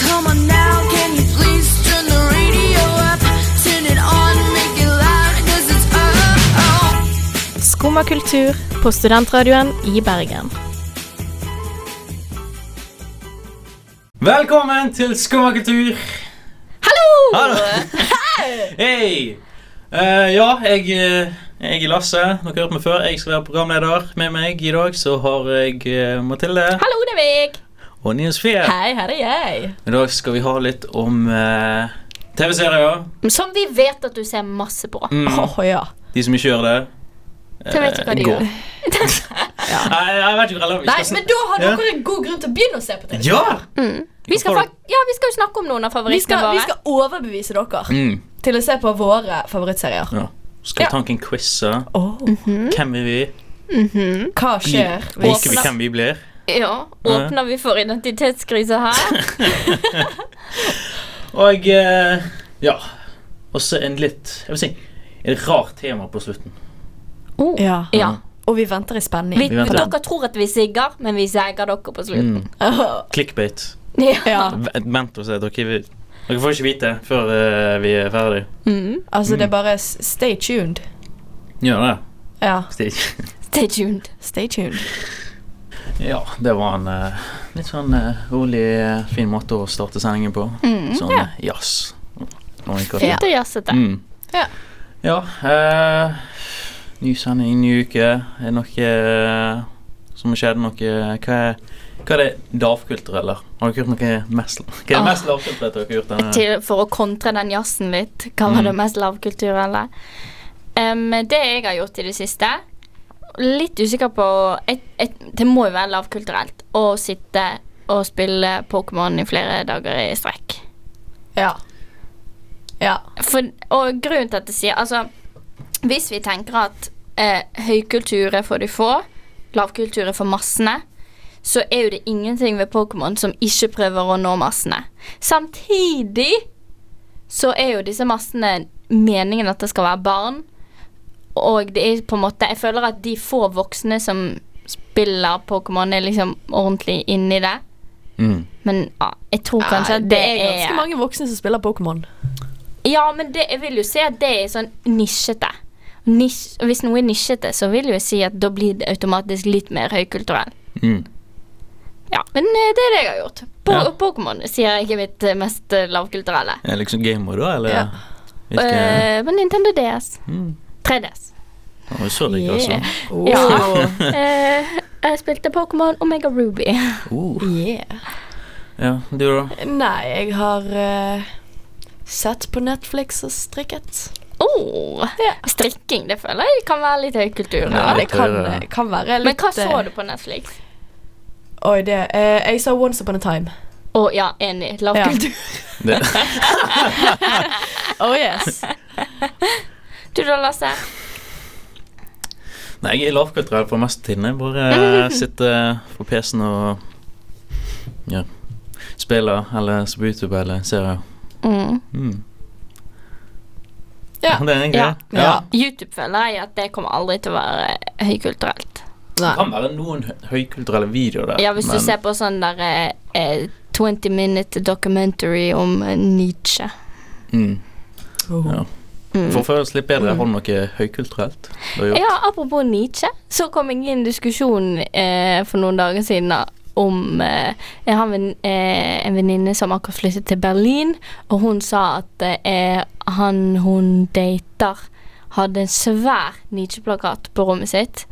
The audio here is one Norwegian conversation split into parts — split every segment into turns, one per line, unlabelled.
Come on now, can you please turn the radio up? Turn it on, make it loud, cause it's up.
Skumma kultur på studentradioen i Bergen.
Velkommen til Skummakultur! Hallo! Hei! Eh, ja, jeg, eh, jeg er Lasse. Dere har hørt meg før. Jeg skal være programleder. Med meg i dag så har jeg eh, Mathilde
Hallo, det er meg!
og Nils Fie.
Hei, her er jeg.
I dag skal vi ha litt om eh, TV-serier.
Som vi vet at du ser masse på.
Mm,
Åh, ja.
De som ikke gjør det.
Så vet du hva de
gå.
gjør.
Nei, jeg vet ikke hva
Nei, men da har
Ja.
dere en god grunn til å begynne å se på TV.
Ja!
Vi skal,
Eh.
fak- ja, vi skal jo snakke om noen av
Vi
favorittene
skal,
våre.
vi skal overbevise dere
Mm,
til å se på våre favorittserier.
ja. Skal
Ja.
vi ta en quiz? så?
Åh,
Hvem er vi?
Hva skjer
Liker vi hvem vi blir?
Ja, Åpner vi for identitetskrise her?
Og eh, ja. Og så en litt Jeg vil si et rart tema på slutten.
Ja.
Oh. Ja.
Og vi venter i spenning.
Vi,
Mm. Vi venter. Mm.
dere tror at vi sigger, men vi sigger dere på slutten.
Åh,
Clickbait.
ja.
V- Vent og se. Dere, vil- dere får ikke vite før eh, vi er ferdig.
Altså, det er bare s- stay tuned.
Gjør det.
Ja,
Stig.
Stay tuned.
stay tuned.
Ja, det var en eh, litt sånn eh, rolig, eh, fin måte å starte sendingen på. sånn eh, jazz. Oh my God.
Fint og jazzete.
Mm.
Ja.
Ja, eh, ny sending, ny uke. Er det noe eh, som har skjedd? Noe Hva er, hva er det lavkulturelle? Har dere gjort noe mest, hva er det mest lavkulturelle dere har gjort? Denne?
Ah. Til, for å kontre den jazzen litt, hva
Mm.
var det mest lavkulturelle? Em, det jeg har gjort i det siste Litt usikker på et, et, Det må jo være lavkulturelt å sitte og spille Pokémon i flere dager i strekk.
Ja. Ja.
For, og grunnen til at jeg sier Altså, hvis vi tenker at eh, høykultur er for de få, lavkultur er for massene, så er jo det ingenting ved Pokémon som ikke prøver å nå massene. Samtidig så er jo disse massene meningen at det skal være barn, og det er på en måte Jeg føler at de få voksne som spiller Pokémon, er liksom ordentlig inni det.
Mm.
Men ja, jeg tror kanskje
Ja,
at
det er ganske mange voksne som spiller Pokémon.
Ja, men det, jeg vil jo si at det er sånn nisjete. Nisj, og hvis noe er nisjete, så vil jeg si at da blir det automatisk litt mer høykulturell.
Mm.
Ja, men eh, det er det jeg har gjort. Po
Ja.
Pokémon sier jeg ikke er mitt eh, mest eh, lavkulturelle.
Er det liksom gamer, da? Eller
Ja.
hvilke
Eh, men Nintendo DS.
Mm.
3DS.
Å, Så altså. liker jeg også.
Ja. Eh, jeg spilte Pokémon Omega Ruby.
Uh.
Yeah.
Ja, du, da?
Nei, jeg har eh, sett på Netflix og strikket.
Oh,
Ja.
Strikking, det føler jeg kan være litt høykultur.
Ja,
Ja,
det kan, eh,
det er-
kan være litt
Men hva så
eh,
du på Netflix?
Oi, det eh, Jeg så Once Upon a Time.
Å ja, enig. Lavkultur.
Det,
Oh yes.
Du da, Lasse?
nei, jeg er lavkulturell på mest tiden. Jeg bare sitter på PC-en og ja, spiller eller ser på YouTube eller serier.
Mm.
Mm.
Ja.
Det er egentlig
Ja.
det. Ja.
YouTube føler jeg at det kommer aldri til å være høykulturelt.
Det kan være noen hø- høykulturelle videoer der.
Ja, Hvis du ser på sånn der eh, eh, 20 minute documentary om eh, Nietzsche.
mm,
Oh.
ja. For å føle oss litt bedre, har du noe høykulturelt? Du har gjort?
Mm. Ja, Apropos Nietzsche, så kom jeg inn i en diskusjon eh, for noen dager siden da, om eh, Jeg har en, ven- eh, en venninne som akkurat flyttet til Berlin, og hun sa at eh, han hun dater, hadde en svær Nietzsche-plakat på rommet sitt.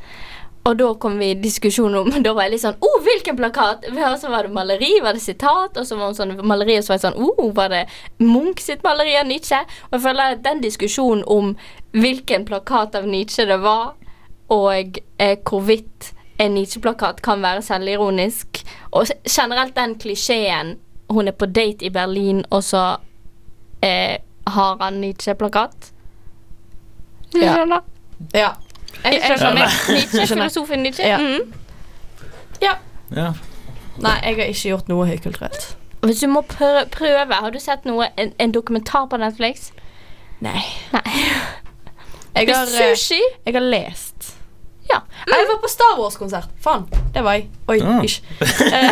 Og da kom vi i diskusjon om Da var jeg litt sånn oh, hvilken plakat? Og så var det maleri, var det sitat? Og så var hun sånn maleri, og så var jeg sånn oh, var det Munch sitt maleri av Nietzsche? Og jeg føler at den diskusjonen om hvilken plakat av Nietzsche det var, og eh, hvorvidt en Nietzsche-plakat kan være selvironisk, og s- generelt den klisjeen hun er på date i Berlin, og så eh, har han Nietzsche-plakat. Du
Ja.
skjønner?
Ja.
Jeg
jeg
skjønner.
skjønner.
Nietzsche,
Jeg skjønner.
filosofen Nietzsche.
Ja.
Mhm.
Ja.
Nei, jeg har ikke gjort noe høykulturelt.
Hvis du må prø- prøve, har du sett noe, en, en dokumentar på Netflix?
Nei.
Det
Jeg
er
har, eh,
sushi.
jeg har lest.
Ja.
Nei, Jeg var på Star Wars-konsert. Faen, det var jeg. Oi,
Ah.
ish. Eh, eh,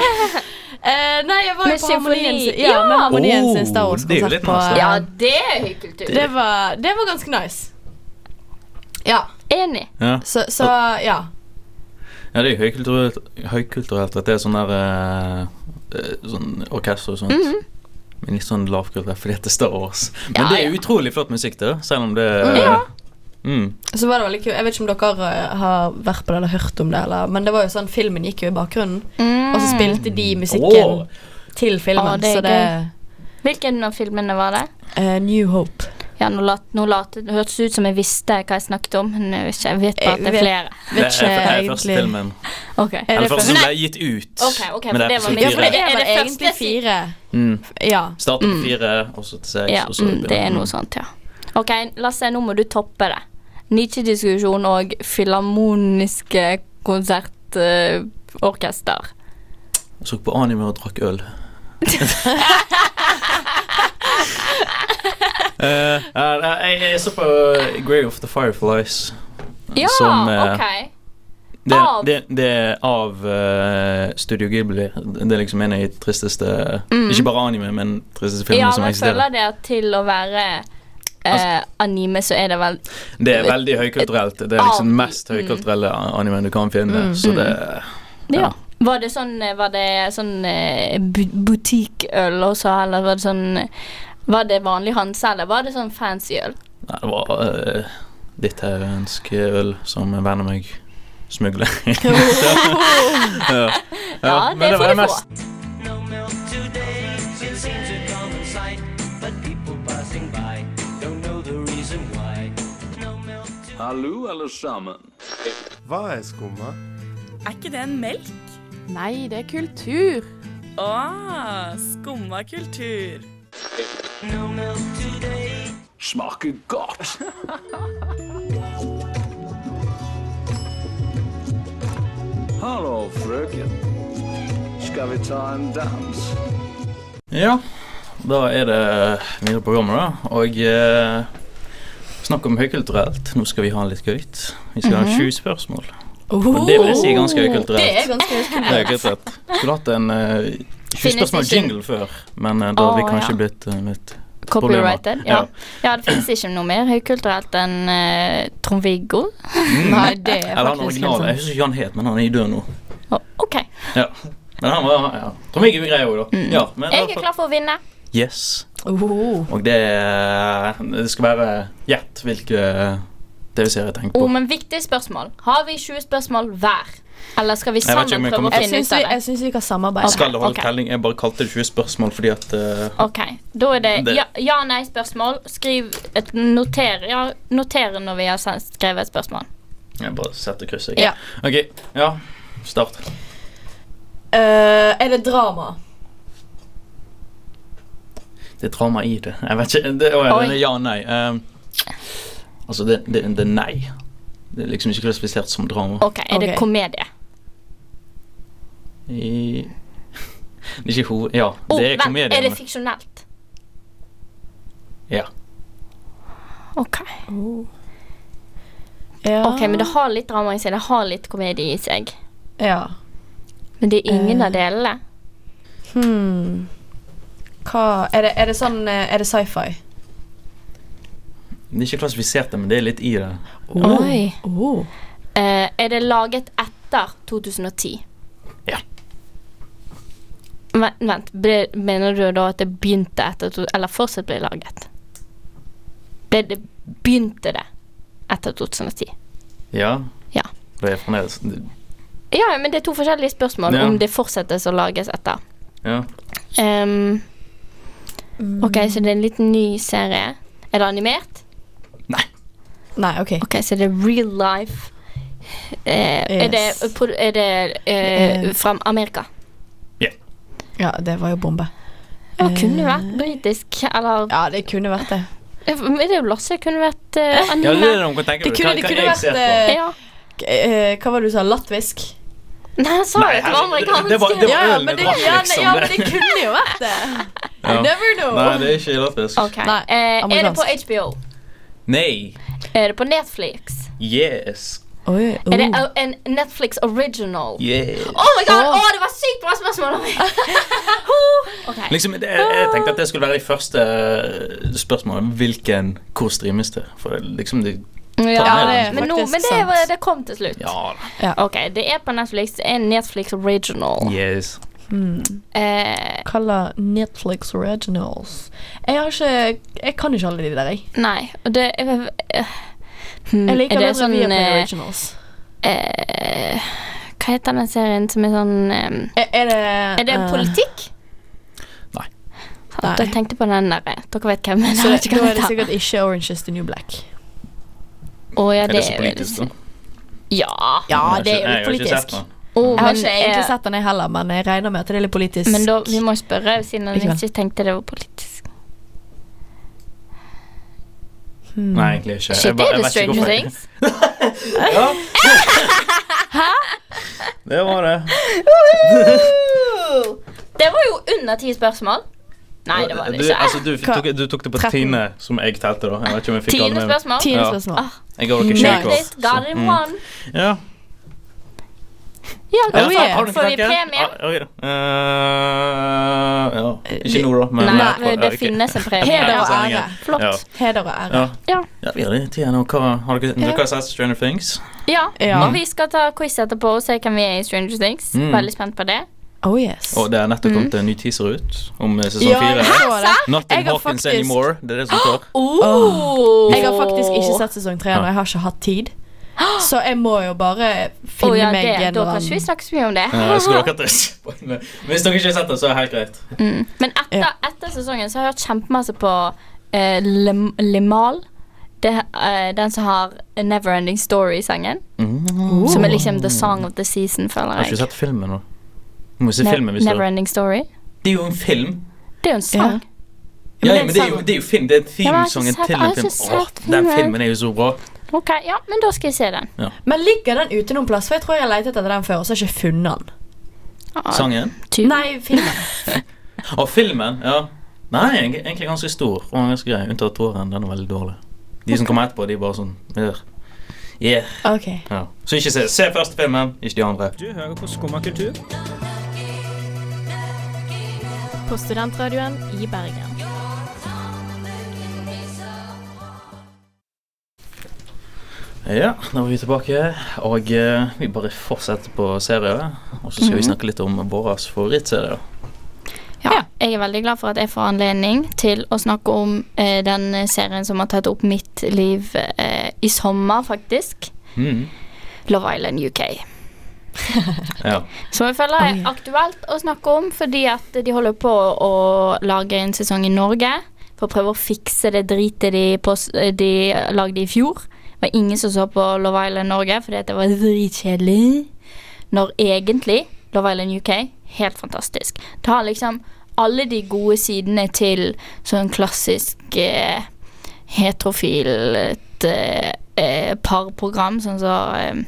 nei, jeg var jo
Med
på Harmonien sin,
symfoni.
ja, med
Ja.
Harmonien sin
Oh,
Star
det er jo
Wars-konsert.
litt
på, eh,
nice,
ja, det er høykultur.
det, var, det var ganske nice. Ja,
Enig.
Ja.
så, så ja.
Ja, det er jo høykulturelt, høykulturelt at det er sånn der eh, eh, Sånn orkester og sånt. Men litt sånn lavkulturelt fordi at det er Star Wars. Men
Mhm. Ja,
det er
ja.
utrolig flott musikk, det, selv om det eh,
Ja.
mm,
Så var det veldig kult. Jeg vet ikke om dere eh, har vært på det eller hørt om det, eller, men det var jo sånn, filmen gikk jo i bakgrunnen,
Mm.
og så spilte de musikken
Åh.
til filmen.
Å, det er
så Mm. det
Hvilken av filmene var det?
eh, New Hope.
Ja, nå, lat, nå late- det hørtes ut som jeg visste hva jeg snakket om, men jeg, vet ikke, jeg vet bare at det
Jeg
er
vet-
flere.
Det
Vet
er, det
ikke
er første
egentlig.
filmen.
Ok.
Er det
Eller første
første?
som ble gitt ut.
Ok, ok, for
men det
det
er
var
episode
min-
Ja, for det
fire.
er
Er
vel
det første
egentlig
siden?
fire.
Mm.
Ja.
Starter på fire, og så til seks,
Ja,
og så
mm, det er noe
sånt.
sånt, ja. Ok, Lasse, nå må du toppe det. Nietzsche-diskusjon og filharmoniske konsertorkester.
Så på anime og drakk øl. Eh, eh, jeg, jeg så på Grey of the Fireflies.
Ja,
Som, eh,
ok.
Det,
Av?
det, det er av eh, Studio Ghibli. Det er liksom en av de tristeste Ikke bare anime, men tristeste filmene
Mm. Ja,
som
men jeg føler
eksisterer. Altså-
det at til å være eh, anime, så er mm. det vel
Det er veldig høykulturelt. Det er liksom den mest høykulturelle animen du kan finne.
Mm.
Så det
Ja. Var det sånn, eh, var det sånn eh, bu- butikkøl også, eller var det sånn Var det vanlig Hansa, eller var det sånn fancy øl?
Nei, det var uh, litauisk øl som en venn av meg smugler. ja.
Ja,
men
det
var
får du
mest-
få.
Hallo, alle sammen.
Hva er skumma?
Er ikke det en melk?
Nei, det er kultur.
Å, Ah, skumma kultur.
Smaker godt. Hallo, frøken. Skal vi ta en dans?
Ja, da er det videre på programmet, da. Og eh, snakk om høykulturelt. Nå skal vi ha litt gøy. Vi skal ha 20 spørsmål. Og det vil jeg si er ganske høykulturelt.
Det er ganske
Det er høykulturelt. Skulle hatt en eh, 20
Finnes ikke-
spørsmål-jingle før, men eh, da hadde vi
Å,
kanskje
ja.
blitt eh, litt
Copyrighted?
Problemer. Ja.
Ja. ja, det finnes ikke noe mer høykulturelt enn eh, Trond-Viggo.
Nei, det er
Mm. Eller
faktisk
han
litt
originale. Jeg
sånn.
husker ikke hva han het, men han er i død nå.
sånn- Å, OK.
Ja. Men han var ja. Tror meg er grei òg, da. Ja, men,
Jeg er klar for å vinne.
Yes.
Oh.
Og det, eh, det skal være gjett hvilke TV-serier jeg tenker på.
Oh, men viktig spørsmål. Har vi 20 spørsmål hver? Eller skal vi
Jeg vet ikke
sammen
om jeg
prøve å
kommer til-
Jeg
finne
syns
ut
vi,
av det?
jeg syns vi kan samarbeide.
Skal det holde
Ok.
telling? Jeg bare kalte det 20 spørsmål fordi at eh,
Ok, Da er det
Det-
ja-nei-spørsmål. Skriv et noter. Ja, noter når vi har sen- skrevet et spørsmål.
Jeg bare setter krysset.
Ja.
Ok, ja. Start.
Eh, er det drama?
Det er drama i det. Jeg vet ikke det, å, ja,
Oi.
det er Ja og nei. Ehm, altså, det, det, det er nei. Det er liksom ikke klassifisert som drama.
Ok, Er det
Ok.
komedie?
I, det er ikke ho... Ja,
Oh,
det er
vent,
komedie.
Er det
men-
fiksjonelt?
Ja.
Ok,
Ja.
Ok, Men det har litt drama i seg. Det har litt komedie i seg.
ja.
Men det er ingen
Eh.
av delene.
Hmm. Hva Er det, er det sånn eh, Er det sci-fi?
Det er ikke klassifisert, men det er litt i det.
Oi.
Oh.
Eh, er det laget etter 2010?
Ja.
Vent, vent ble, mener du da at det begynte etter to, Eller fortsatt ble laget? Ble det, begynte det etter 2010?
Ja.
Ja.
Det er fremdeles
Ja, men det er to forskjellige spørsmål
Ja.
om det fortsettes å lages etter.
Ja.
Ehm, OK, så det er en liten ny serie. Er det animert?
Nei, OK.
OK, så det er real life. Eh, Er det,
Yes.
pro- er det eh,
Eh.
fra Amerika?
Ja, det var jo bombe.
Ja, kunne vært britisk,
Eh.
eller
Ja, det kunne vært det.
Men det er jo Lasse. Kunne vært uh,
Ja, det er det noen tenker
Det
på.
kunne,
Hva-
det
hva
kunne
jeg
vært
ser på.
eh,
Ja.
k- eh, Hva var det du sa? Latvisk?
Nei, jeg sa
Nei,
jo at det
herregud,
var
det-
amerikansk.
det var- det var
ja, ja,
ølen
men
det
det,
var,
ja, nei,
liksom.
ja, men det kunne jo vært det.
Ja.
Never know.
Nei, det er ikke latvisk.
Ok. Eh, er det på HBO?
Nei.
Er det på Netflix?
Yes.
Er det
oh,
au- en Netflix original?
Yes.
Oh my god! Åh, det var sykt bra spørsmål! av meg. ok.
Liksom, det, jeg tenkte at det skulle være i første eh, spørsmål. Hvilken, Hvor streames det? For det, liksom, det
Ja,
det
men, nå, men det, var, det kom til slutt.
Ja.
Ok, Det er på Netflix. Det er en Netflix original.
Yes.
Eh,
Kalla Netflix originals. Jeg har ikke Jeg kan ikke alle de der, jeg.
nei, og det jeg, eh, hmm,
Jeg liker
er det
bedre vi er på
eh,
originals.
eh, Hva heter den serien som er sånn eh,
Er, er det
Er det
eh,
politikk?
Nei.
Jeg tenkte på den der. eh, Dere vet hvem
Så
jeg
det, da er det
heter.
sikkert ikke Orange is the New Black.
Å, ja,
Er det så
vel-
politisk, da?
Ja.
Ja,
Jeg har
det er
ikke-
jo
jeg
litt
har ikke sett
politisk.
den.
Oh,
Jeg har
men,
ikke egentlig
eh,
sett den, jeg heller, men jeg regner med at det er litt politisk.
Men da, vi må spørre, siden han
Ikke sant?
ikke tenkte det var politisk.
Nei, egentlig ikke.
Mm. Shit,
Eh, Jeg ba- jeg
er
vet
det
ikke
Stranger
hvorfor jeg-
Things?
Ja. Det var det.
Det var jo under ti spørsmål. Nei, det var det
Du, altså,
ikke.
du, tok, du tok det på
Tretten.
tiende, som jeg telte, da. Jeg vet ikke om jeg fikk alle
Tiende
med.
spørsmål. Ah,
Tiende
Ja.
spørsmål.
Jeg ga dere
Checklist,
shake-off.
got it
mm.
one.
Ja. Ja,
Ja, da
oh, yeah.
Har du en
får vi
knakke?
premie.
Ja, Ah, ok da. Eh, ja. Ikke nå, da. Men
Nei,
ja,
men det
ok.
finnes en premie.
Ja,
Heder og
sendingen.
ære.
Ja.
Flott.
Heder og ære.
Ja.
Ja.
Ja, vi har det til nå. Hva- Har dere, dere har sett Stranger Things?
ja.
Ja.
Og vi skal ta quiz etterpå og se hvem vi er i Stranger Things.
Mm.
Veldig spent på det.
Oh yes.
Og det er nettopp kommet
Mm.
en ny teaser ut om eh, sesong
Ja,
fire.
jeg så det.
Nothing
Jeg har
Hawkins
faktisk-
Anymore. Det er det som står.
Oh.
Jeg har faktisk ikke sett sesong tre, og jeg har ikke hatt tid. Så jeg må jo bare
Å
finne
ja,
meg
det,
en
da
eller
kan ikke vi
annen
snakke så mye om det.
Eh, jeg skulle akkurat Men Hvis dere ikke har sett det, så er det helt greit.
Men etter, etter sesongen så har jeg hørt kjempemasse på eh, Lem- Lemal. Det, eh, den som har Neverending Story-sangen. Som er liksom the song of the season,
Jeg
føler
har ikke
jeg.
sett filmen nå. Du må se
Ne-
filmen hvis du
Neverending Story.
Det er jo en film.
Det er jo en sang.
Ja,
det er
men det er, jo,
en
det er jo film. Det er
Ja, men jeg har
themesongen til
ikke sett- jeg
en
har
film.
ikke
Åh,
sett
den
filmen.
filmen er jo så bra.
Ok, ja, men da skal jeg se den.
Men ligger den ute noen plass? For jeg tror jeg har lett etter den før, og så har jeg ikke funnet den.
Ah,
Sangen.
typ.
Nei, filmen.
Å, filmen. Ja. Nei, eg- egentlig ganske stor og ganske grei. Unntatt toeren. Den er veldig dårlig. De som kommer etterpå, de er bare sånn øh, Yeah.
Ok.
Ja. Så ikke se. Se først filmen, ikke de andre.
Du hører på Skumma kultur.
På Studentradioen i Bergen.
Ja, da var vi tilbake, og eh, vi bare fortsetter på serier. Og så skal vi
Mhm.
snakke litt om våre favorittserier.
Ja, jeg er veldig glad for at jeg får anledning til å snakke om eh, den serien som har tatt opp mitt liv eh, i sommer, faktisk.
Mhm.
Love Island UK.
Ja.
Som jeg føler er aktuelt å snakke om, fordi at de holder på å lage en sesong i Norge. For å prøve å fikse det dritet de, på, de lagde i fjor. Det var ingen som så på Love Island Norge, fordi at det var dritkjedelig. Når egentlig Love Island UK helt fantastisk. Det har liksom alle de gode sidene til sånn klassisk eh, heterofilt eh, eh, parprogram, sånn som eh,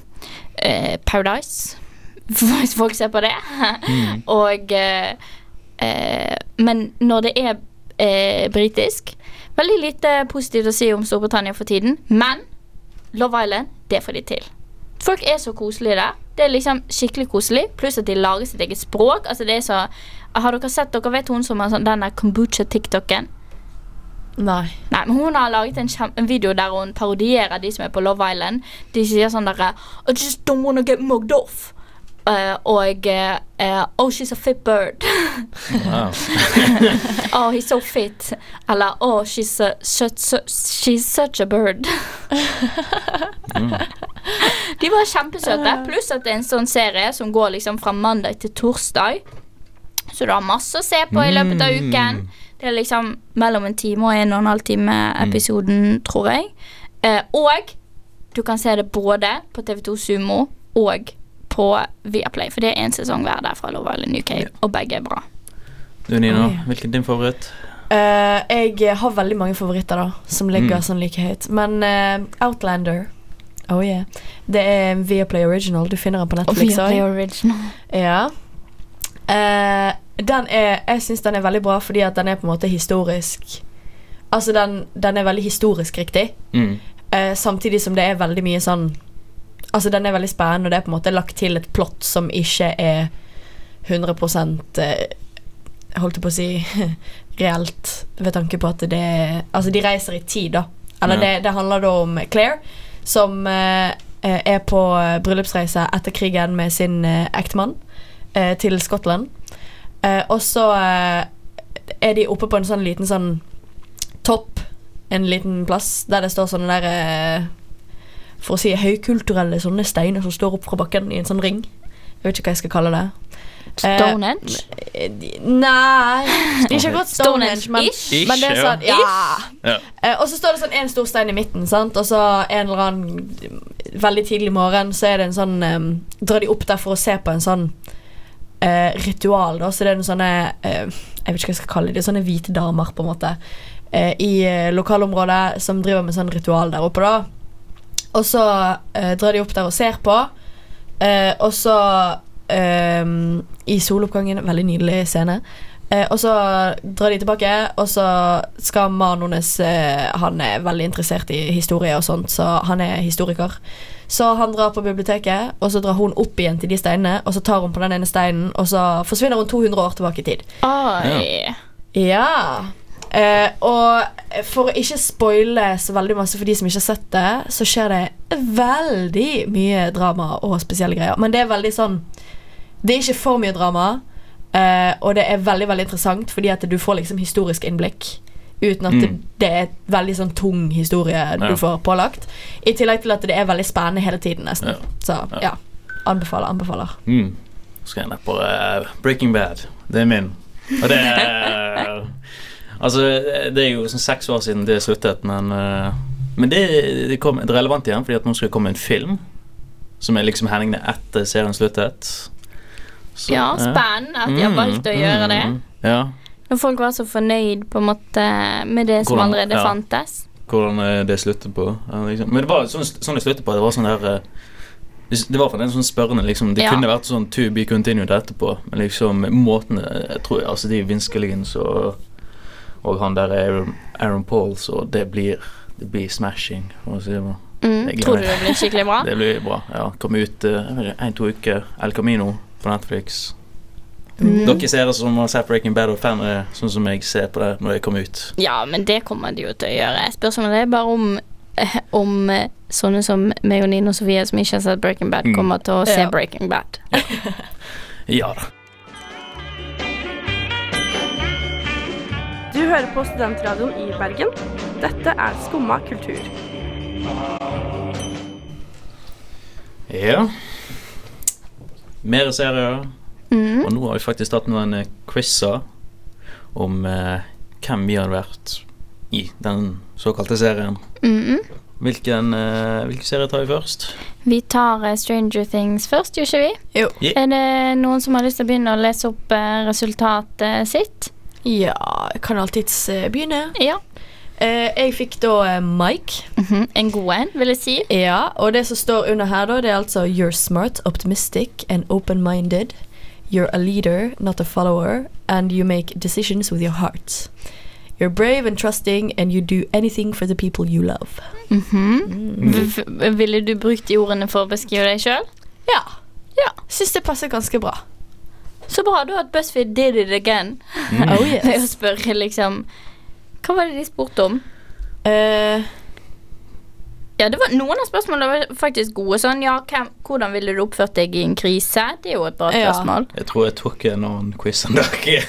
eh, Paradise. Hvis folk ser på det. Og eh, eh, Men når det er eh, britisk Veldig lite positivt å si om Storbritannia for tiden, men Love Island, det får de til. Folk er så koselige der. Det er liksom skikkelig koselig, pluss at de lager sitt eget språk. Altså det er så Har dere sett Dere vet hun som har sånn den der kombucha-tiktoken?
Nei.
Nei, men hun har laget en, kjem- en video der hun parodierer de som er på Love Island. De sier sånn derre I just don't wanna get mugged off. Eh, og eh, eh, Oh, she's a fit bird.
Wow.
oh, he's so fit. Eller Oh, she's, a, such, such, she's such a bird. De var kjempesøte. Pluss at det er en sånn serie som går liksom fra mandag til torsdag. Så du har masse å se på i løpet av uken. Det er liksom mellom en time og en og en halv time episoden, tror jeg. Eh, og du kan se det både på TV2 Sumo og på Viaplay, for det er én sesong hver der fra Love Island UK, og begge er bra.
Du, Nina,
Oi.
hvilken din favoritt?
Eh, jeg har veldig mange favoritter da som ligger
Mm.
sånn like høyt. Men eh, Outlander Oh yeah. Det er en Viaplay Original. Du finner den på Netflix. også.
Viaplay Original.
Ja. Eh, den er Jeg syns den er veldig bra fordi at den er på en måte historisk Altså, den, den er veldig historisk riktig.
Mm.
Eh, samtidig som det er veldig mye sånn Altså Den er veldig spennende, og det er på en måte lagt til et plott som ikke er 100 eh, Holdt jeg på å si reelt, ved tanke på at det er Altså, de reiser i tid, da. Eller
Ja.
det, det handler da om Claire, som eh, eh, er på eh, bryllupsreise etter krigen med sin eh, ektemann eh, til Skottland. Eh, og så eh, er de oppe på en sånn liten sånn topp, en liten plass, der det står sånne der eh, for å si høykulturelle sånne steiner som står opp fra bakken i en sånn ring. Jeg vet ikke hva jeg skal kalle det.
Stonehenge?
Eh, de- nei Ikke akkurat Stonehenge, men,
Stonehenge-ish.
men det er sånn,
Ish,
ja.
ja.
Eh, og så står det sånn en stor stein i midten, sant? og så en eller annen mm, veldig tidlig morgen så er det en sånn em, Drar de opp der for å se på en sånn eh, ritual, da. Så det er noen sånne eh, Jeg vet ikke hva jeg skal kalle det, sånne hvite damer, på en måte, eh, i eh, lokalområdet som driver med sånn ritual der oppe, da. Og så eh, drar de opp der og ser på. Eh, og så eh, I soloppgangen, veldig nydelig scene. Eh, og så drar de tilbake, og så skal mannen hennes eh, Han er veldig interessert i historie og sånt, så han er historiker. Så han drar på biblioteket, og så drar hun opp igjen til de steinene, og så tar hun på den ene steinen, og så forsvinner hun 200 år tilbake i tid.
Oi.
Ja. Eh, og for å ikke spoile så veldig masse for de som ikke har sett det, så skjer det veldig mye drama og spesielle greier. Men det er veldig sånn Det er ikke for mye drama, eh, og det er veldig veldig interessant fordi at du får liksom historisk innblikk. Uten at det,
Mm.
det er et veldig sånn tung historie
Ja.
du får pålagt. I tillegg til at det er veldig spennende hele tiden, nesten.
Ja.
Så ja. Anbefaler, anbefaler.
Mm. Så skal jeg ned på eh, Breaking Bad. Det er min. Og det er Altså, det er jo sånn seks år siden det sluttet, men eh, Men det, det, kom, det er relevant igjen, fordi at nå skal det komme en film som er liksom hendingene etter serien sluttet. Så,
Ja,
eh,
spennende at de har
mm,
valgt å gjøre det.
mm, Ja.
Når folk var så fornøyd på en måte med det som
Hvordan-
allerede
ja.
fantes.
hvordan eh, det slutter på. eh, Liksom. Men det var sånn, sånn det slutter på. Det var sånn der eh, det det var for en sånn spørrende liksom. Det
Ja.
kunne vært sånn to be continued etterpå, men liksom måten eh, jeg tror, Altså de Vinskeligens og, og han der Aaron, Aaron Paul, så det blir Det blir smashing. for å si det sånn.
Mm,
Jeg gleder
tror du
meg.
det blir skikkelig bra?
Det blir bra. ja Kommer ut eh, jeg vet ikke, en, to uker. El Camino på Netflix.
Mm.
Dere ser det som har sett Breaking Bad og fan, eh, sånn som jeg ser på det når det kommer ut.
Ja, men det kommer de jo til å gjøre. Spørsmålet er bare om eh, om eh, sånne som meg og Nina og Sofie, som ikke har sett Breaking Bad,
Mm.
kommer til å se
Ja.
Breaking Bad.
Ja da.
Du hører på Studentradioen i Bergen. Dette er Skumma kultur.
Ja. Mer serier.
Mhm.
Og nå har vi faktisk tatt noen eh, quizer om eh, hvem vi hadde vært i den såkalte serien.
Mhm.
Hvilken, eh, hvilken serie tar vi først?
Vi tar eh, Stranger Things først, gjør ikke vi?
Jo.
Ja.
Er det noen som har lyst til å begynne å lese opp eh, resultatet sitt?
Ja, jeg kan alltids eh, begynne.
Ja.
jeg fikk da eh, Mike.
Mhm. En god en, vil jeg si.
Ja, og det som står under her, da, det er altså You're smart, optimistic and open-minded. You're a leader, not a follower. And you make decisions with your heart. You're brave and trusting, and you do anything for the people you love.
Mm-hmm.
V- v- Ville du brukt de ordene for å beskrive deg sjøl?
Ja. ja. Syns det passer ganske bra.
Så bra da at BuzzFeed did it again.
Mm. Oh, yes.
Ved å spørre liksom Hva var det de spurte om?
Eh,
ja, det var Noen av spørsmålene var faktisk gode. Sånn, ja, hvem, Hvordan ville du oppført deg i en krise? Det er jo et bra spørsmål.
Jeg tror jeg tok en annen quiz enn dere.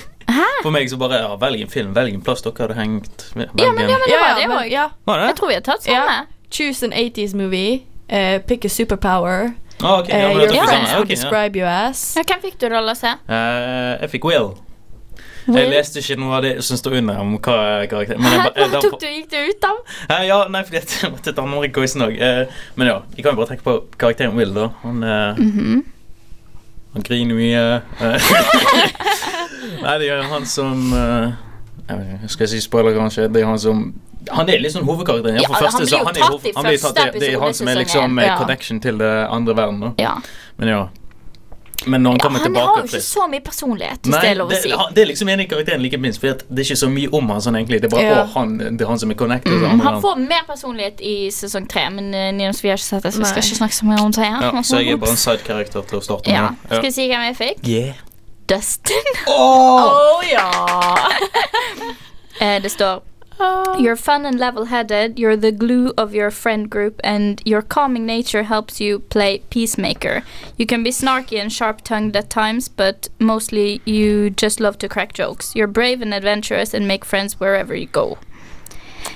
For meg så bare ja, Velg en film, velg en plass dere hadde hengt. Velg
Ja, men-
en-
ja, men-
Ja,
Ja,
det
men-
var
ja.
Var det?
Jeg tror vi har tatt samme.
Choose an 80s movie. eh, pick a superpower.
Ah, ok, ja,
eh,
men da
your
tok vi
friends
samme,
would
ok, ja.
describe you as.
Ja, hvem fikk du da, Lasse?
Eh, jeg fikk Will. Jeg
Will?
leste ikke noe av det som står under om hva karakter men jeg ba- jeg-
Hva tok du, gikk du ut av?
Eh, ja, nei, fordi at jeg måtte ta andre
Mm-hmm.
quizen òg. Eh, men ja, jeg kan jo bare tenke på karakteren Will, da. Han eh, Han griner mye. Eh, Nei, det er han som eh, jeg vet ikke, Skal jeg si spoiler, kanskje? Det er han som han er litt sånn hovedkarakteren.
Ja,
Ja, for
han
første,
blir
så
jo
han, er
tatt
hoved-
i
han blir
første
tatt i- Det er
episode
han som er
sesong
liksom
én,
eh,
ja.
connection til det andre verden. Da.
Ja.
Men ja. Men når han kommer
Han
tilbake
har jo ikke så mye personlighet, hvis
Nei,
det er lov å
det,
si.
han- det er liksom en i karakteren like minst, for det er ikke så mye om han sånn egentlig. Det er bare
Ja. Mm.
å, han, det er han som er connected. til andre
Han
verden.
får mer personlighet i sesong tre, men uh, Nina Sofie har ikke sett det, så vi skal
Nei.
ikke snakke så mye om det. her.
Ja, så jeg er bare en sånn- sidekarakter til å starte med.
Ja.
Ja.
Skal jeg si hvem jeg fikk?
Yeah.
Dustin.
Oh!
Eh, det står You're fun and level-headed, you're the glue of your friend group, and your calming nature helps you play peacemaker. You can be snarky and sharp-tongued at times, but mostly you just love to crack jokes. You're brave and adventurous and make friends wherever you go.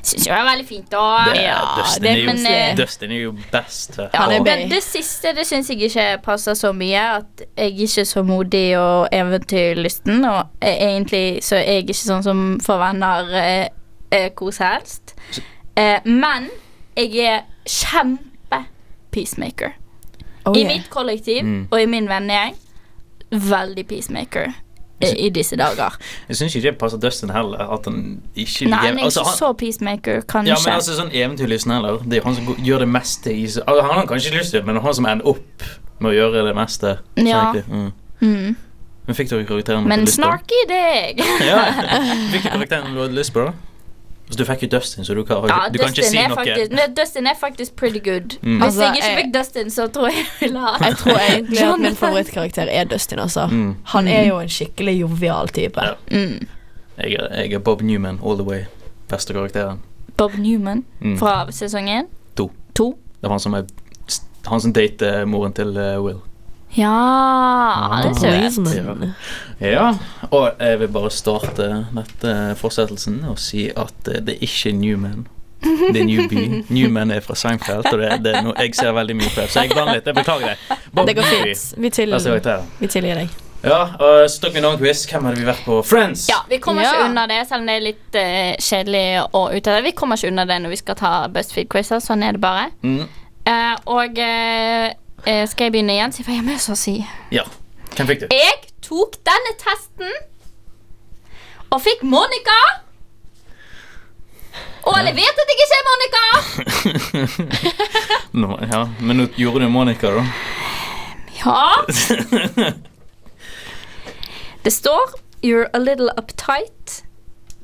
Synes jo det er veldig fint, da.
Det, Dustin, er jo,
men, eh,
Dustin er jo best. her.
ja,
Og-
men det siste det syns jeg ikke passer så mye. At jeg er ikke så modig og eventyrlysten. Og eh, egentlig så er jeg ikke sånn som får venner eh, eh, hvor som helst. Eh, men jeg er kjempe-peacemaker.
Oh,
I
yeah.
mitt kollektiv
Mm.
og i min vennegjeng. Veldig peacemaker eh, i disse dager.
Jeg syns ikke det passer Dustin heller. At han ikke
Nei, han er
altså,
ikke
han-
så peacemaker, kanskje.
Ja, men altså sånn eventyrlysten heller. Det er jo han som gjør det meste i altså, Han har kanskje ikke lyst til det, men det er han som ender opp med å gjøre det meste. sånn
Ja.
egentlig. Mm.
Mm.
Men fikk dere karakteren dere
Men
hadde lyst på?
snarky, det er jeg.
Ja. Hvilken karakter du hadde lyst på, da? Altså, du fikk jo Dustin, så du kan,
Ja,
du kan ikke
Dustin
si
er
noe.
Faktisk, nei, Dustin er faktisk pretty good.
Mm.
Hvis
Altså,
jeg ikke
jeg-
fikk Dustin, så tror jeg jeg ville ha
Jeg tror egentlig at min
Jonathan.
favorittkarakter er Dustin. altså
Mm.
Han er jo en skikkelig jovial type.
Mm.
Jeg, er, jeg er Bob Newman all the way. Beste karakteren.
Bob Newman
Mm.
fra sesong én.
To.
To?
Det var han som er han som dater moren til eh, Will.
Ja,
Ah,
han er
sånn
søt.
Ja, og jeg vil bare starte dette fortsettelsen og si at eh, det er ikke Newman. Det er Newbie. Newman er fra Seinfeld, og det, det er noe jeg ser veldig mye på. Så jeg blander litt. Jeg beklager det. Bob
Det går
Newby.
fint. Vi tilgir
Beste
deg.
karakteren.
Vi tilgir deg.
Ja, og så tok vi en annen quiz. Hvem hadde vi vært på? Friends!
Ja, vi kommer
Ja.
ikke unna det, selv om det er litt eh, kjedelig å uttale. Vi kommer ikke unna det når vi skal ta BuzzFeed-quizer. Sånn er det bare.
Mm.
Eh, og eh, eh, skal jeg begynne igjen? Si hva jeg har med å si.
ja. Hvem fikk du?
Jeg tok denne testen og fikk Monica. Og alle vet at jeg ikke er Monica.
Nå, ja. Men nå gjorde du Monica, da.
Ja. Det står You're a little uptight,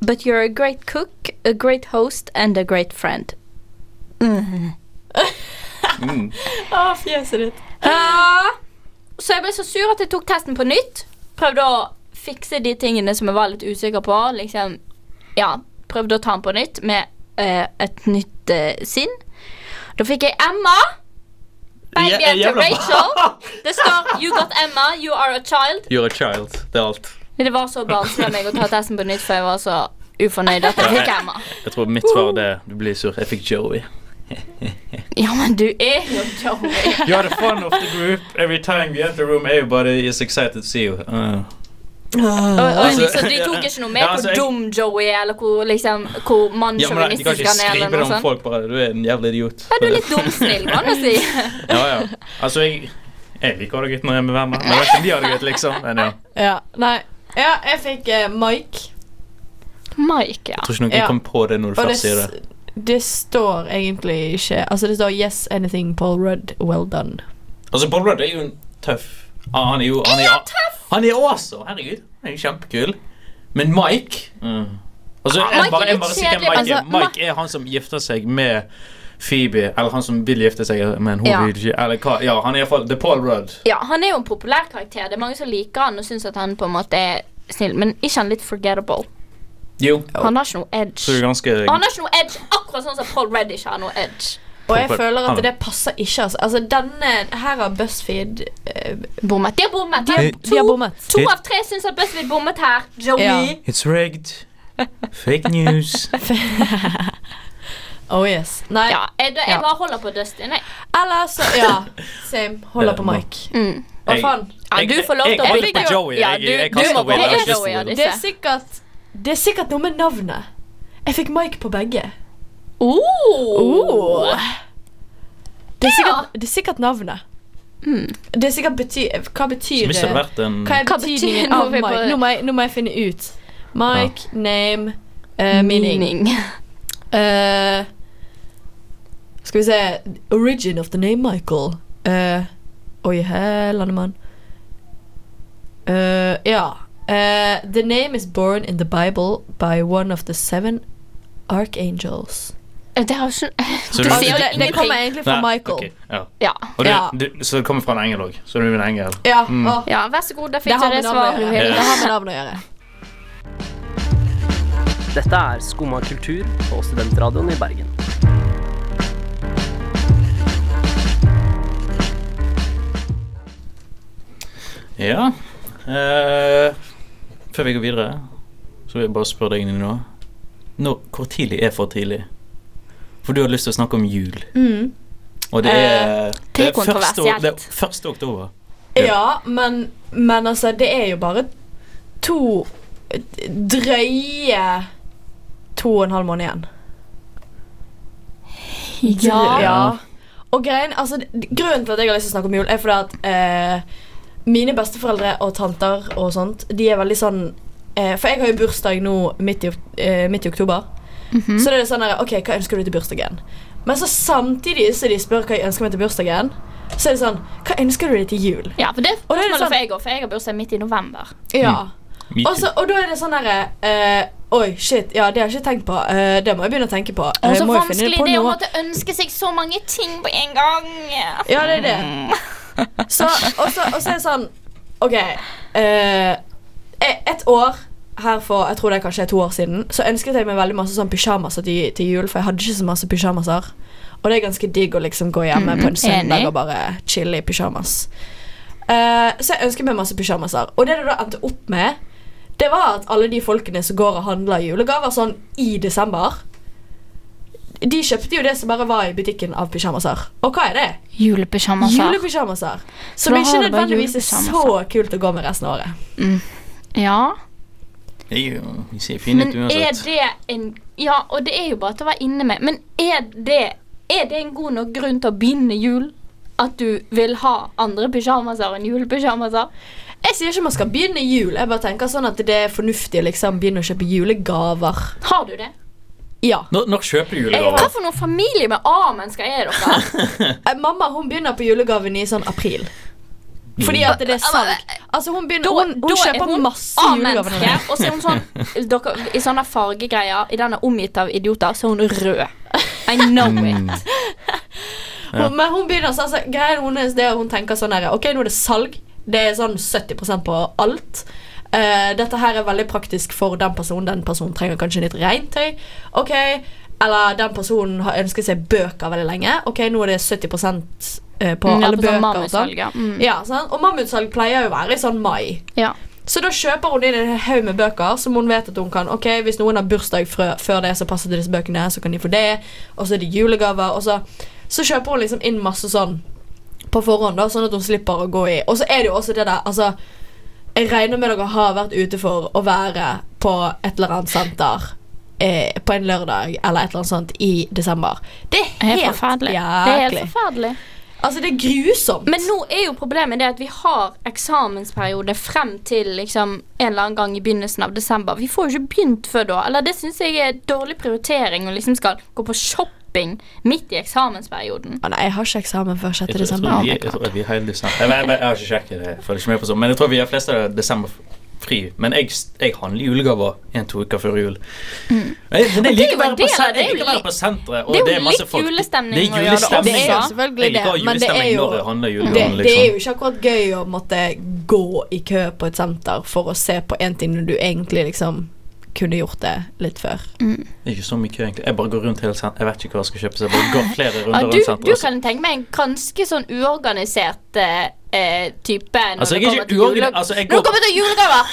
but you're a great cook, a great host and a great friend.
Mm.
Å, fjeset ditt.
Ja. Ah, Så jeg ble så sur at jeg tok testen på nytt. Prøvde å fikse de tingene som jeg var litt usikker på. Liksom, ja, prøvde å ta den på nytt med eh, et nytt eh, sinn. Da fikk jeg Emma. Babyen
Je-
til
jævla-
Rachel. Det står 'You got Emma, you are a child'.
You're a child. Det er alt.
Men Det var så barnslig av meg å ta testen på nytt, for jeg var så ufornøyd at jeg fikk Emma.
Jeg tror mitt svar er det. Du blir sur. Jeg fikk Joey.
Ja, men du er jo Joey.
You're the fun of the group. Every time you enter the room, everybody is excited to see you. Uh.
Og, og
Altså,
liksom, De tok ikke noe med
ja,
hvor
altså, jeg-
dum Joey er, eller hvor, liksom, hvor
Ja, men nei, de kan
mannssjåvinistisk
ikke
han er.
skrive
eller
det om
noe sånt.
folk bare. Du er en jævla idiot.
Ja, du er litt dumsnill, kan man si.
ja, ja. Altså, jeg, jeg liker det gøy når jeg er med venner. Men jeg vet ikke om de har det gøy, liksom. Men ja.
Ja, nei. Ja, jeg fikk eh, Mike.
Mike, ja.
Jeg tror ikke noen
Ja.
kom på det når du
Og det,
først sier
s-
det.
det står egentlig ikke Altså, det står 'Yes, anything, Paul Rudd. Well done'.
Altså, Bob Rudd er jo en tøff ah, Han er jo han er, han er awesome. Herregud. Han er jo kjempekul. Men Mike Altså,
Ah,
jeg
Mike
bare,
er
jeg
litt
bare sier hvem
kjedelig.
Mike er.
Altså,
Mike er han som gifter seg med Phoebe, eller han som vil gifte seg med en
Ja.
hovedvideo. Eller hva. Ja, han er iallfall The Paul Rudd.
ja. Han er jo en populær karakter. Det er mange som liker han og syns at han på en måte er snill, men ikke han litt forgettable.
Jo.
Han har ikke noe
Så du er
edge.
ganske
Og han har ikke noe edge, akkurat sånn som Paul Reddish har noe edge.
Og jeg
Paul-
føler
han-
at det passer ikke. Altså, altså denne Her har BuzzFeed eh,
Bommet. De har bommet.
De har- de har bommet.
To av tre syns at BuzzFeed bommet her. Joey.
Ja.
It's rigged. Fake news.
Oh yes. Nei.
Ja, jeg, jeg
Ja.
bare holder på Dustin, jeg.
Eller så Ja, same. Holder på
Ja,
Mike.
Mm.
Hva
Jeg-
faen?
Ja,
Jeg-
du får lov
jeg-
til å
jeg
holde
fikk
på.
på Joey.
Ja,
Jeg-
du,
jeg
du
kaster
må
Will. Jeg
holde
har
på
ikke
Joey av
lyst
Det
disse.
er sikkert Det er sikkert noe med navnet. Jeg fikk Mike på begge.
Oh.
Oh. Det er sikkert, det er sikkert navnet. Det er sikkert bety Hva betyr
Som ikke hadde vært en-
Hva er
Hva
betyr-
betydningen
Nå
av
får jeg
Mike?
på-
Nå må jeg, nå må jeg finne ut. Mike, name,
Mm.
eh, meaning. Eh, skal vi se Origin of the name Michael. Eh, oi, hellandemann. Eh, ja. Eh, the name is born in the Bible by one of the seven archangels.
Det har ikke
Så du-
Det sier det- det kommer egentlig fra
Nei,
Michael.
ok, ja.
Ja.
Og
Ja.
du, du, så det kommer fra en engel òg. Så du er en engel.
Ja,
Mm.
å.
ja, vær så god. Da
Det
fikk
har
du det
med navnet å
svaret du
gjøre.
ville.
Det har med navnet å gjøre.
Dette er Skumma kultur på Studentradioen i Bergen.
Ja. Eh, før vi går videre, så vil jeg bare spørre deg Nina. Nå, hvor tidlig er for tidlig? For du har lyst til å snakke om jul.
Mm.
Og det er,
Eh,
det er
det er
første-
kontroversielt.
Det er første oktober.
Ja, men, men altså, det er jo bare to drøye to og en halv måned igjen.
Ja.
ja. Og greien, altså, d- grunnen til at jeg har lyst til å snakke om jul, er fordi at eh, mine besteforeldre og tanter og sånt, de er veldig sånn eh, For jeg har jo bursdag nå midt i, ok- eh, midt i oktober. Så det er sånn der, OK, hva ønsker du til bursdagen? Men så samtidig så de spør hva jeg ønsker meg til bursdagen, så er det sånn Hva ønsker du deg til jul?
Ja, for det
Og da er det
spørsmålet
sånn-
for jeg òg, for jeg har bursdag midt i november.
Ja.
Me
Og, så, og da er det sånn derre eh, Oi, shit. Ja, det har jeg ikke tenkt på. Eh, det må jeg begynne å tenke på.
Og
Eh,
så
må jeg finne
vanskelig
på
det er å
noe.
måtte ønske seg så mange ting på en gang.
Ja, det er det. Så, og, så, og så er det sånn OK. eh, e- et år her for jeg tror det er kanskje to år siden, så ønsket jeg meg veldig masse sånn pysjamaser til, til jul, for jeg hadde ikke så masse pysjamaser. Og det er ganske digg å liksom gå hjemme
Mm,
på en søndag
enig.
og bare chille i pysjamas. Eh, så jeg ønsket meg masse pysjamaser. Og det det da endte opp med, det var at alle de folkene som går og handler julegaver sånn i desember de kjøpte jo det som bare var i butikken av pysjamaser. Og hva er det?
Julepysjamaser.
Julepysjamaser. Som
Altså, Da har
ikke
du bare
nødvendigvis er så
julepyjamaser.
kult å gå med resten av året.
Ja.
Jeg, jeg ser fin ut
Men er
uansett.
det en Ja, og det er jo bare til å være inne med, men er det, er det en god nok grunn til å begynne jul? At du vil ha andre pysjamaser enn julepysjamaser?
Jeg sier ikke man skal begynne jul. Jeg bare tenker sånn at det er fornuftig å liksom begynne å kjøpe julegaver.
Har du det?
Ja.
Når, når kjøper du
Hva
julegaver?
for noen familie med A-mennesker er dere?
Eh, Mamma hun begynner på julegaven i sånn april. Fordi at det er salg. Altså Hun, begynner, hun, hun Ah,
Da er
kjøper
hun
masse
A-menneske,
julegaver. nå.
Og så er hun sånn dere, I sånne fargegreier, i den er omgitt av idioter, så er hun rød. I know it.
Ja.
Hun, men hun begynner sånn, altså, greien hennes det er at hun tenker sånn her Ok, nå er det salg. Det er sånn 70 på alt. Eh, dette her er veldig praktisk for den personen. Den personen trenger kanskje litt regntøy. Ok, Eller den personen har ønsket seg bøker veldig lenge. Ok, nå er det 70 eh, på
Mm, ja,
alle
på
bøker.
sånn
og sånn.
mammutsalg, ja. Mm.
Ja, sånn. Og mammutsalg pleier jo å være i sånn mai.
Ja.
Så da kjøper hun inn en haug med bøker som hun vet at hun kan Ok, hvis noen har bursdag frø- før det, så passer det disse bøkene, så kan de få det. Og så er det julegaver. Og så, så kjøper hun liksom inn masse sånn på forhånd, da, sånn at hun slipper å gå i. Og så er det jo også det der Altså, jeg regner med dere har vært ute for å være på et eller annet senter eh, på en lørdag eller et eller annet sånt i desember. Det er helt,
Helt forferdelig. Det er helt
jæklig.
forferdelig.
Altså, det er grusomt.
Men nå er jo problemet det at vi har eksamensperiode frem til liksom, en eller annen gang i begynnelsen av desember. Vi får jo ikke begynt før da. Eller det syns jeg er dårlig prioritering å liksom skal gå på shopping midt i eksamensperioden.
Å nei, jeg har ikke eksamen før 6.
Jeg tror, sånn
desember.
jeg, tror vi, jeg tror vi er hele desember. Jeg, jeg, jeg har ikke sjekket det. Jeg følger ikke med på sånt. Men jeg tror vi har flest av desember fri. Men jeg, jeg handler julegaver en-to uker før jul. Jeg, men jeg
Mm. det er
liker
jo
å være
en
på,
del av
sen-
det,
jeg
det er
liker
jo
å være
litt-
på senteret, og
det er jo
det er masse
litt
folk.
julestemning
Det er
å gjøre det også.
julestemning.
Det er jo selvfølgelig
Jeg liker å ha
det, men det er
julestemning
jo-
når jeg handler
Det,
julegaver.
det er
Liksom.
jo ikke akkurat gøy å måtte gå i kø på et senter for å se på en ting når du egentlig liksom kunne gjort det litt før.
Mm.
Det er ikke så mye kø, egentlig. Jeg bare går rundt hele senteret. Jeg vet ikke hva jeg skal kjøpe, så jeg bare går flere
Ja,
runder
du,
rundt
du
senteret. altså. og så-
kan tenke meg en ganske sånn uorganisert eh, eh, type når
Altså, jeg
det
er
kommer
ikke
til jule-
uorgan- altså, jeg
Når
går-
det kommer til julegaver!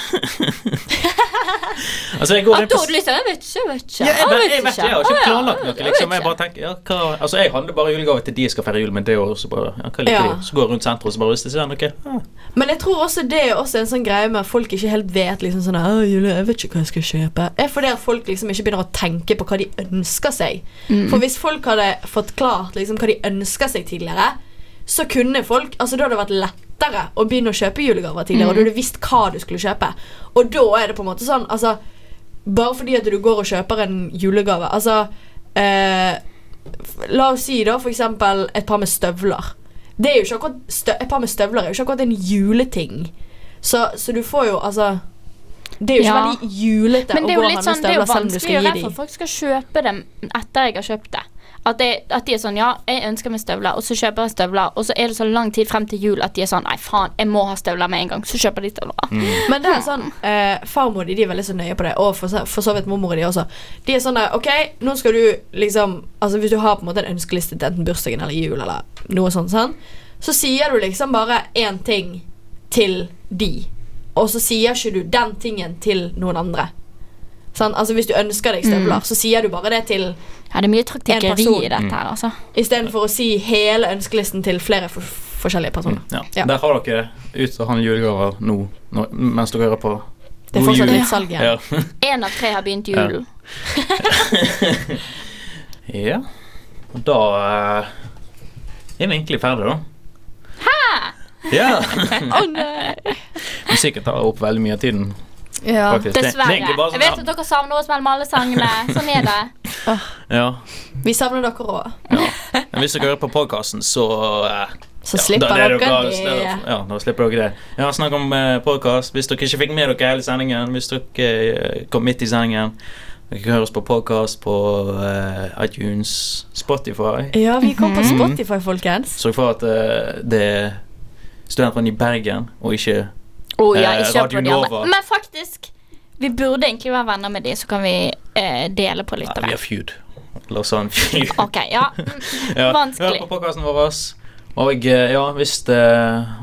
Altså, jeg
At
går inn
da
på
har du lyst til Jeg vet ikke, jeg vet ikke.
Ja, jeg,
vet
vet, jeg, vet, ikke, jeg har ikke
Å, ja.
planlagt noe. Liksom. Jeg bare tenker, ja, hva, altså jeg handler bare julegaver til de jeg skal feire jul med. Det er jo også bare, ja, hva liker
Ja.
de? Så går jeg rundt sentrum og så bare hvis de ser noe. Ja.
Men jeg tror også det er også en sånn greie med at folk ikke helt vet liksom sånn «Å, Julie, jeg vet ikke hva jeg skal kjøpe. Det er fordi at folk liksom ikke begynner å tenke på hva de ønsker seg.
Mm.
For hvis folk hadde fått klart liksom hva de ønsker seg tidligere, så kunne folk Altså Da hadde det vært lettere å begynne å kjøpe julegaver tidligere.
Mm.
Og du hadde visst hva du skulle kjøpe. Og da er det på en måte sånn Altså Bare fordi at du går og kjøper en julegave Altså eh, f- La oss si da for eksempel et par med støvler. Det er jo ikke akkurat stø Et par med støvler er jo ikke akkurat en juleting. Så, så du får jo altså Det er jo ikke
Ja.
veldig julete
Men det
å
er
gå
jo
og
litt
handle
sånn, det er jo
støvler selv om du
vanskelig å
skal
gjøre
gi dem.
for folk skal kjøpe dem etter jeg har kjøpt det. At, det, at de er sånn Ja, jeg ønsker meg støvler, og så kjøper jeg støvler, og så er det så lang tid frem til jul at de er sånn Nei, faen, jeg må ha støvler med en gang. Så kjøper de støvler.
Mm.
Men det er sånn, eh, farmor de, de er veldig så nøye på det, og for, så- for så vidt mormor de også. De er sånn der, ok, nå skal du liksom Altså Hvis du har på en måte en ønskeliste til enten bursdagen eller jul, eller noe sånt, sånn, så sier du liksom bare én ting til de, og så sier ikke du den tingen til noen andre. Sånn, altså Hvis du ønsker deg støvler,
Mm.
så sier du bare det til
Ja, det er mye taktikkeri i dette
Mm.
her, altså.
Istedenfor å si hele ønskelisten til flere for forskjellige personer.
Ja. Der har dere det. Ut og handle julegaver nå, nå mens dere hører på.
Det er
God
fortsatt
jul.
litt salg igjen.
Ja.
Én av tre har begynt
Ja.
julen.
ja. Og da eh, er vi egentlig ferdige, da. Hæ? Ja. Musikken tar opp veldig mye av tiden. Faktisk. Det- det er
Dessverre.
egentlig bare sånn-
Jeg vet at dere savner oss mellom alle sangene. Sånn er det.
Ja.
Vi savner dere òg.
Men hvis dere hører på podkasten, så eh,
Så
ja,
slipper
da er
dere
bare-
det.
Ja, da slipper dere det. Ja, Snakk om eh, podkast. Hvis dere ikke fikk med dere hele sendingen, hvis dere eh, kom midt i sendingen Dere kan høre oss på podkast på eh, iTunes, Spotify.
Ja, vi kom på
Mhm.
Spotify, folkens.
Sørg for at eh, det er studentene i Bergen, og ikke
Oh, ja,
eh,
ikke
Radio
Radio
Nova.
Men faktisk, vi burde egentlig være venner med de, så kan vi eh, dele på litt
Nei,
av
vi
det.
har feud. La oss ha en feud.
Ok, ja.
Ja,
Vanskelig.
Hør på podkasten vår. ass. Og eh, ja, hvis det,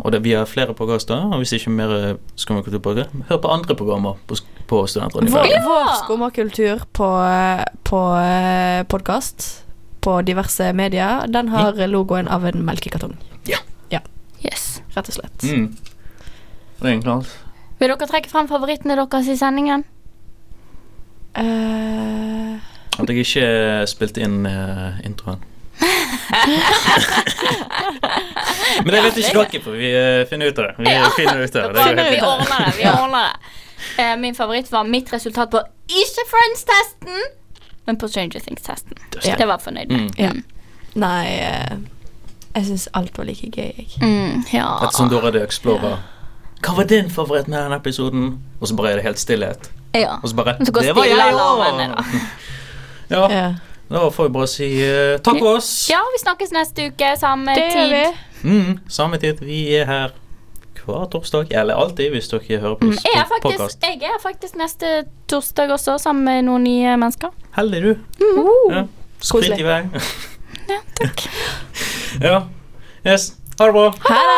og det, vi har flere podkaster, og hvis ikke mer eh, skal vi gå tilbake, hør på andre programmer på, sk- på Studentrådet i
Vår,
Bergen.
vår skummakultur på, eh, på eh, podkast på diverse medier, den har logoen av en melkekartong.
Ja.
Rett og slett.
Mm. Det er egentlig alt.
Vil dere trekke frem favorittene deres i sendingen?
Eh,
At jeg ikke spilte inn eh, introen. Men det vet ikke dere, for vi eh, finner ut av det. Vi finner ut av det. det. går helt
vi
fint.
ordner det. vi ordner det. Eh, min favoritt var mitt resultat på ikke Friends-testen, men på Stranger Things-testen.
Ja.
Det var jeg fornøyd
Mm.
med.
Ja. Nei eh, Jeg syns alt var like gøy, jeg.
Mm, ja.
Rett som Dora the Explorer. Hva var din favoritt med den episoden? Og så bare er det helt stillhet.
Ja.
Og så bare
Så går
Det var
stille
jeg
alarmen,
òg! Ja. Da får vi bare si eh, takk for oss.
Ja, vi snakkes neste uke, samme
Det gjør
tid.
vi.
Mm, samme tid. Vi er her hver torsdag, eller alltid, hvis dere hører på
Mm, jeg, er
mm,
faktisk,
podkast.
jeg er faktisk neste torsdag også, sammen med noen nye mennesker.
Heldig du. Ja.
Mm.
Skritt i vei. ja, takk. ja. Yes. Ha det bra.
Ha det!